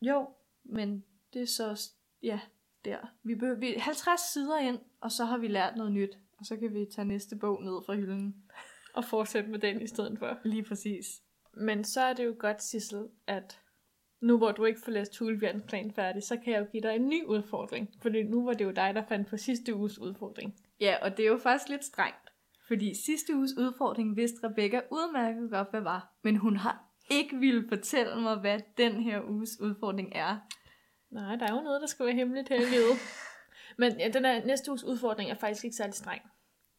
A: Jo, men det er så... også- Ja, der. Vi behøver, vi 50 sider ind, og så har vi lært noget nyt. Og så kan vi tage næste bog ned fra hylden.
B: Og fortsætte med den i stedet for.
A: Lige præcis.
B: Men så er det jo godt, Sissel, at nu hvor du ikke får læst Tulebjørns plan færdig, så kan jeg jo give dig en ny udfordring. Fordi nu var det jo dig, der fandt på sidste uges udfordring.
A: Ja, og det er jo faktisk lidt strengt. Fordi sidste uges udfordring vidste Rebecca udmærket godt, hvad var. Men hun har ikke ville fortælle mig, hvad den her uges udfordring er.
B: Nej, der er jo noget, der skal være hemmeligt her i livet. Men ja, den her, næste uges udfordring er faktisk ikke særlig streng.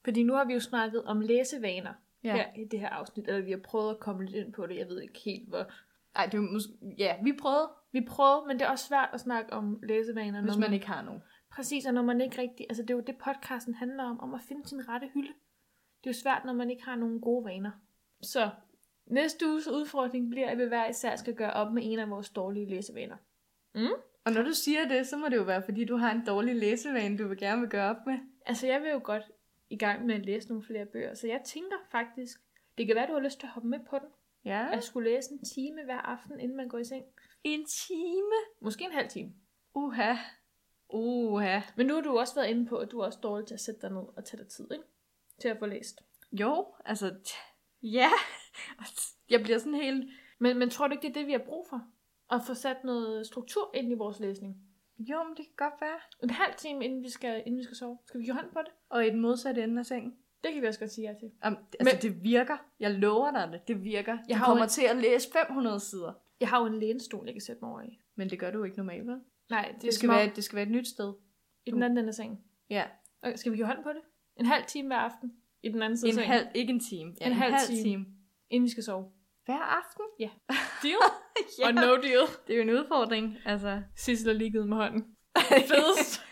B: Fordi nu har vi jo snakket om læsevaner ja. her i det her afsnit, eller vi har prøvet at komme lidt ind på det. Jeg ved ikke helt, hvor...
A: Ej, det er jo mås- ja, vi prøvede,
B: Vi prøvede, men det er også svært at snakke om læsevaner,
A: hvis
B: når
A: man ikke har nogen.
B: Præcis, og når man ikke rigtig... Altså, det er jo det, podcasten handler om, om at finde sin rette hylde. Det er jo svært, når man ikke har nogen gode vaner. Så næste uges udfordring bliver, at vi hver især skal gøre op med en af vores dårlige læsevaner.
A: Og når du siger det, så må det jo være, fordi du har en dårlig læsevane, du vil gerne vil gøre op med.
B: Altså, jeg vil jo godt i gang med at læse nogle flere bøger, så jeg tænker faktisk, det kan være, du har lyst til at hoppe med på den.
A: Ja.
B: At skulle læse en time hver aften, inden man går i seng.
A: En time.
B: Måske en halv time.
A: Uha. Uha.
B: Men nu har du også været inde på, at du er også dårlig til at sætte dig ned og tage dig tid, ikke? Til at få læst.
A: Jo, altså... t- Ja. Jeg bliver sådan helt...
B: Men, men tror du ikke, det er det, vi har brug for? At få sat noget struktur ind i vores læsning?
A: Jo, men det kan godt være.
B: En halv time, inden vi skal, inden vi skal sove. Skal vi give hånd på det?
A: Og i den modsatte ende af sengen.
B: Det kan vi også godt sige ja til.
A: Jamen, altså, men... det virker. Jeg lover dig det. Det virker. Jeg
B: Jeg
A: du
B: har jo
A: kommer
B: en-
A: til at læse 500 sider.
B: Jeg har jo en lænestol, jeg kan sætte mig over i.
A: Men det gør du ikke normalt, vel?
B: Nej, det,
A: Det skal, være, det skal være et nyt sted.
B: i den anden ende af sengen.
A: Ja.
B: Okay, skal vi give hånd på det? En halv time hver aften i den anden side af
A: En
B: sengen,
A: halv, ikke en time. Ja,
B: En halv time. inden vi skal sove.
A: Hver aften?
B: Deal?
A: Ja.
B: Og no deal.
A: Det er jo en udfordring, altså.
B: Sissel er lige givet med hånden. Fedest.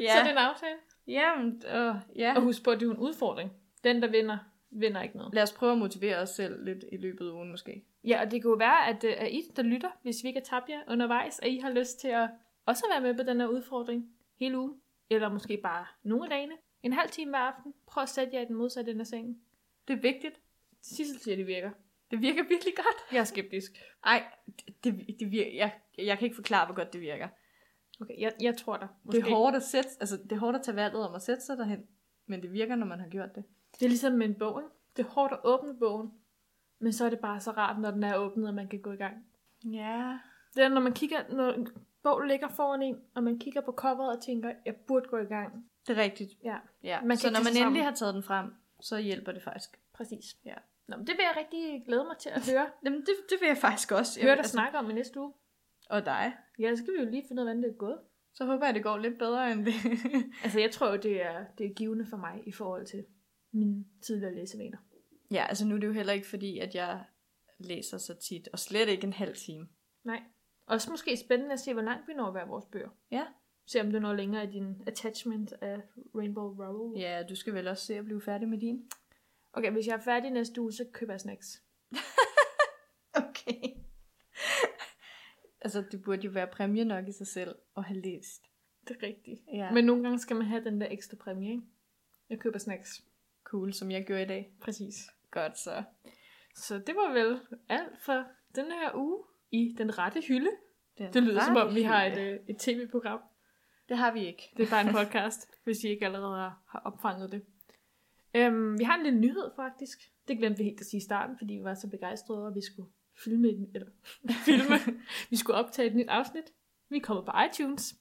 B: ja. Så er det en aftale.
A: Jamen, øh, ja.
B: Og husk på, at det er jo en udfordring. Den, der vinder, vinder ikke noget.
A: Lad os prøve at motivere os selv lidt i løbet af ugen, måske.
B: Ja, og det kan jo være, at, øh, at I, der lytter, hvis vi ikke har tabt jer undervejs, at I har lyst til at også være med på den her udfordring hele ugen. Eller måske bare nogle af dagene. En halv time hver aften. Prøv at sætte jer i den modsatte ende af sengen.
A: Det er vigtigt.
B: Sissel siger, det virker.
A: Det virker virkelig godt.
B: Jeg er skeptisk.
A: Ej, det, det, det virker, jeg, jeg kan ikke forklare, hvor godt det virker.
B: Okay, jeg, jeg tror dig.
A: Måske. Det er hårdt at sætte, altså det er hårdt at tage valget om at sætte sig derhen, men det virker, når man har gjort det.
B: det er ligesom med en bog, ikke? Det er hårdt at åbne bogen. Men så er det bare så rart, når den er åbnet, og man kan gå i gang.
A: Ja.
B: Det er, når man kigger, når en bog ligger foran en, og man kigger på coveret og tænker, jeg burde gå i gang.
A: Det er rigtigt.
B: Ja,
A: Ja.
B: Man
A: Man
B: kan
A: så
B: ikke
A: når
B: tage
A: man
B: sig
A: endelig
B: sammen.
A: har taget den frem, så hjælper det faktisk.
B: præcis.
A: Ja.
B: Nå, men det vil jeg rigtig glæde mig til at høre. Altså-
A: Jamen, det, det vil jeg faktisk også. Altså,
B: høre dig snakke om i næste uge.
A: Og dig.
B: Ja, så skal vi jo lige finde ud af, hvordan det er gået.
A: Så håber jeg, det går lidt bedre end det.
B: Altså, jeg tror jo, det er, det er givende for mig i forhold til mine tidligere læsevaner.
A: ja, altså nu er det jo heller ikke fordi, at jeg læser så tit, og slet ikke en halv time.
B: Nej. Også måske spændende at se, hvor langt vi når hver vores bøger.
A: Ja.
B: Se om du når længere i din attachment af Rainbow Rowell.
A: Ja, du skal vel også se at blive færdig med din.
B: Okay, hvis jeg er færdig næste uge, så køber jeg snacks.
A: Okay. altså, det burde jo være præmie nok i sig selv at have læst.
B: Det er rigtigt.
A: Ja.
B: Ja. Men nogle gange skal man have den der ekstra præmie, ikke? Jeg køber snacks.
A: cool, som jeg gjorde i dag.
B: Præcis.
A: Godt så.
B: Så det var vel alt for den her uge i Den Rette Hylde.
A: Den
B: Det lyder som om, vi har et,
A: rette hylde.
B: øh, et tv-program.
A: Det har vi ikke.
B: Det er bare en podcast, hvis I ikke allerede har- har opfanget det. Øhm, vi har en lille nyhed faktisk. Det glemte vi helt at sige i starten, fordi vi var så begejstrede over, at vi skulle filme, et- eller, filme. vi skulle optage et nyt afsnit. Vi kommer på iTunes.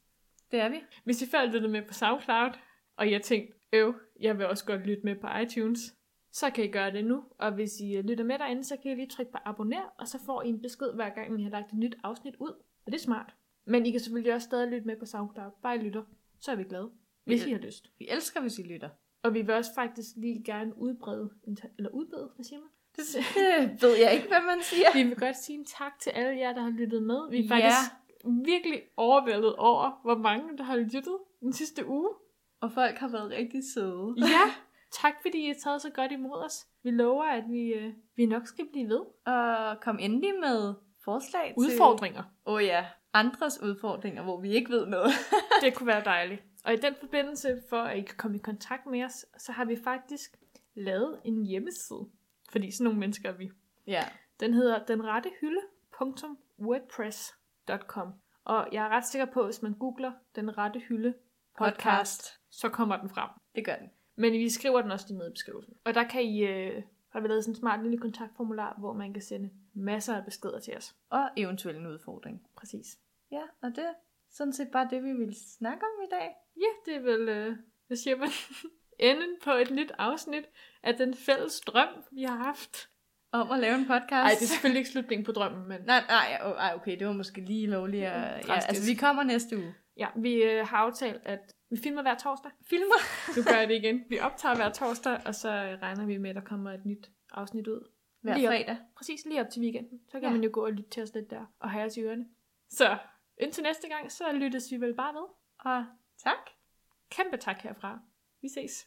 A: Det er vi.
B: Hvis I før lyttede med på SoundCloud, og jeg tænkte, øv, jeg vil også godt lytte med på iTunes, så kan I gøre det nu. Og hvis I øh, lytter med derinde, så kan I lige trykke på abonner, og så får I en besked hver gang, vi har lagt et nyt afsnit ud. Og det er smart. Men I kan selvfølgelig også stadig lytte med på SoundCloud. Bare I lytter, så er vi glade, hvis I har lyst.
A: Vi elsker, hvis I lytter.
B: Og vi vil også faktisk lige gerne udbrede, en ta- eller udbede, hvad siger man?
A: Det ved jeg ikke, hvad man siger.
B: Vi vil godt sige en tak til alle jer, der har lyttet med. Vi er
A: Ja.
B: faktisk virkelig overvældet over, hvor mange, der har lyttet den sidste uge.
A: Og folk har været rigtig søde.
B: Ja, tak fordi I har taget så godt imod os. Vi lover, at vi, øh, vi nok skal blive ved.
A: Og kom endelig med forslag
B: Udfordringer.
A: til... Åh oh ja, andres udfordringer, hvor vi ikke ved noget.
B: Det kunne være dejligt. Og i den forbindelse, for at I kan komme i kontakt med os, så har vi faktisk lavet en hjemmeside. Fordi sådan nogle mennesker er vi.
A: ja.
B: Den hedder denrettehylde.wordpress.com Og jeg er ret sikker på, at hvis man googler Den Rette Hylde podcast, så kommer den frem.
A: Det gør den.
B: Men vi skriver den også lige ned i beskrivelsen. Og der kan I øh, har vi lavet sådan en smart lille kontaktformular, hvor man kan sende masser af beskeder til os.
A: Og eventuelt en udfordring.
B: Præcis.
A: Ja, og det er sådan set bare det, vi ville snakke om i dag.
B: Ja, det er vel, øh, hvad siger man, enden på et nyt afsnit af den fælles drøm, vi har haft.
A: Om at lave en podcast.
B: Nej, det er selvfølgelig ikke slutningen på drømmen, men
A: Nej, nej, åh, ej, okay, det var måske lige lovligt.
B: Mm,
A: At, ja,
B: drastisk.
A: altså, vi kommer næste uge.
B: ja, vi øh, har aftalt, at vi filmer hver torsdag.
A: Filmer.
B: Nu gør jeg det igen. Vi optager hver torsdag, og så øh, regner vi med, at der kommer et nyt afsnit ud.
A: Hver
B: Lige op.
A: fredag.
B: Præcis lige op til weekenden. Så kan
A: Ja.
B: ja. man jo gå og lytte til os lidt der, og have os i ørerne. Så indtil næste gang, så lyttes vi vel bare ved. Og
A: Tak.
B: kæmpe tak herfra. Vi ses.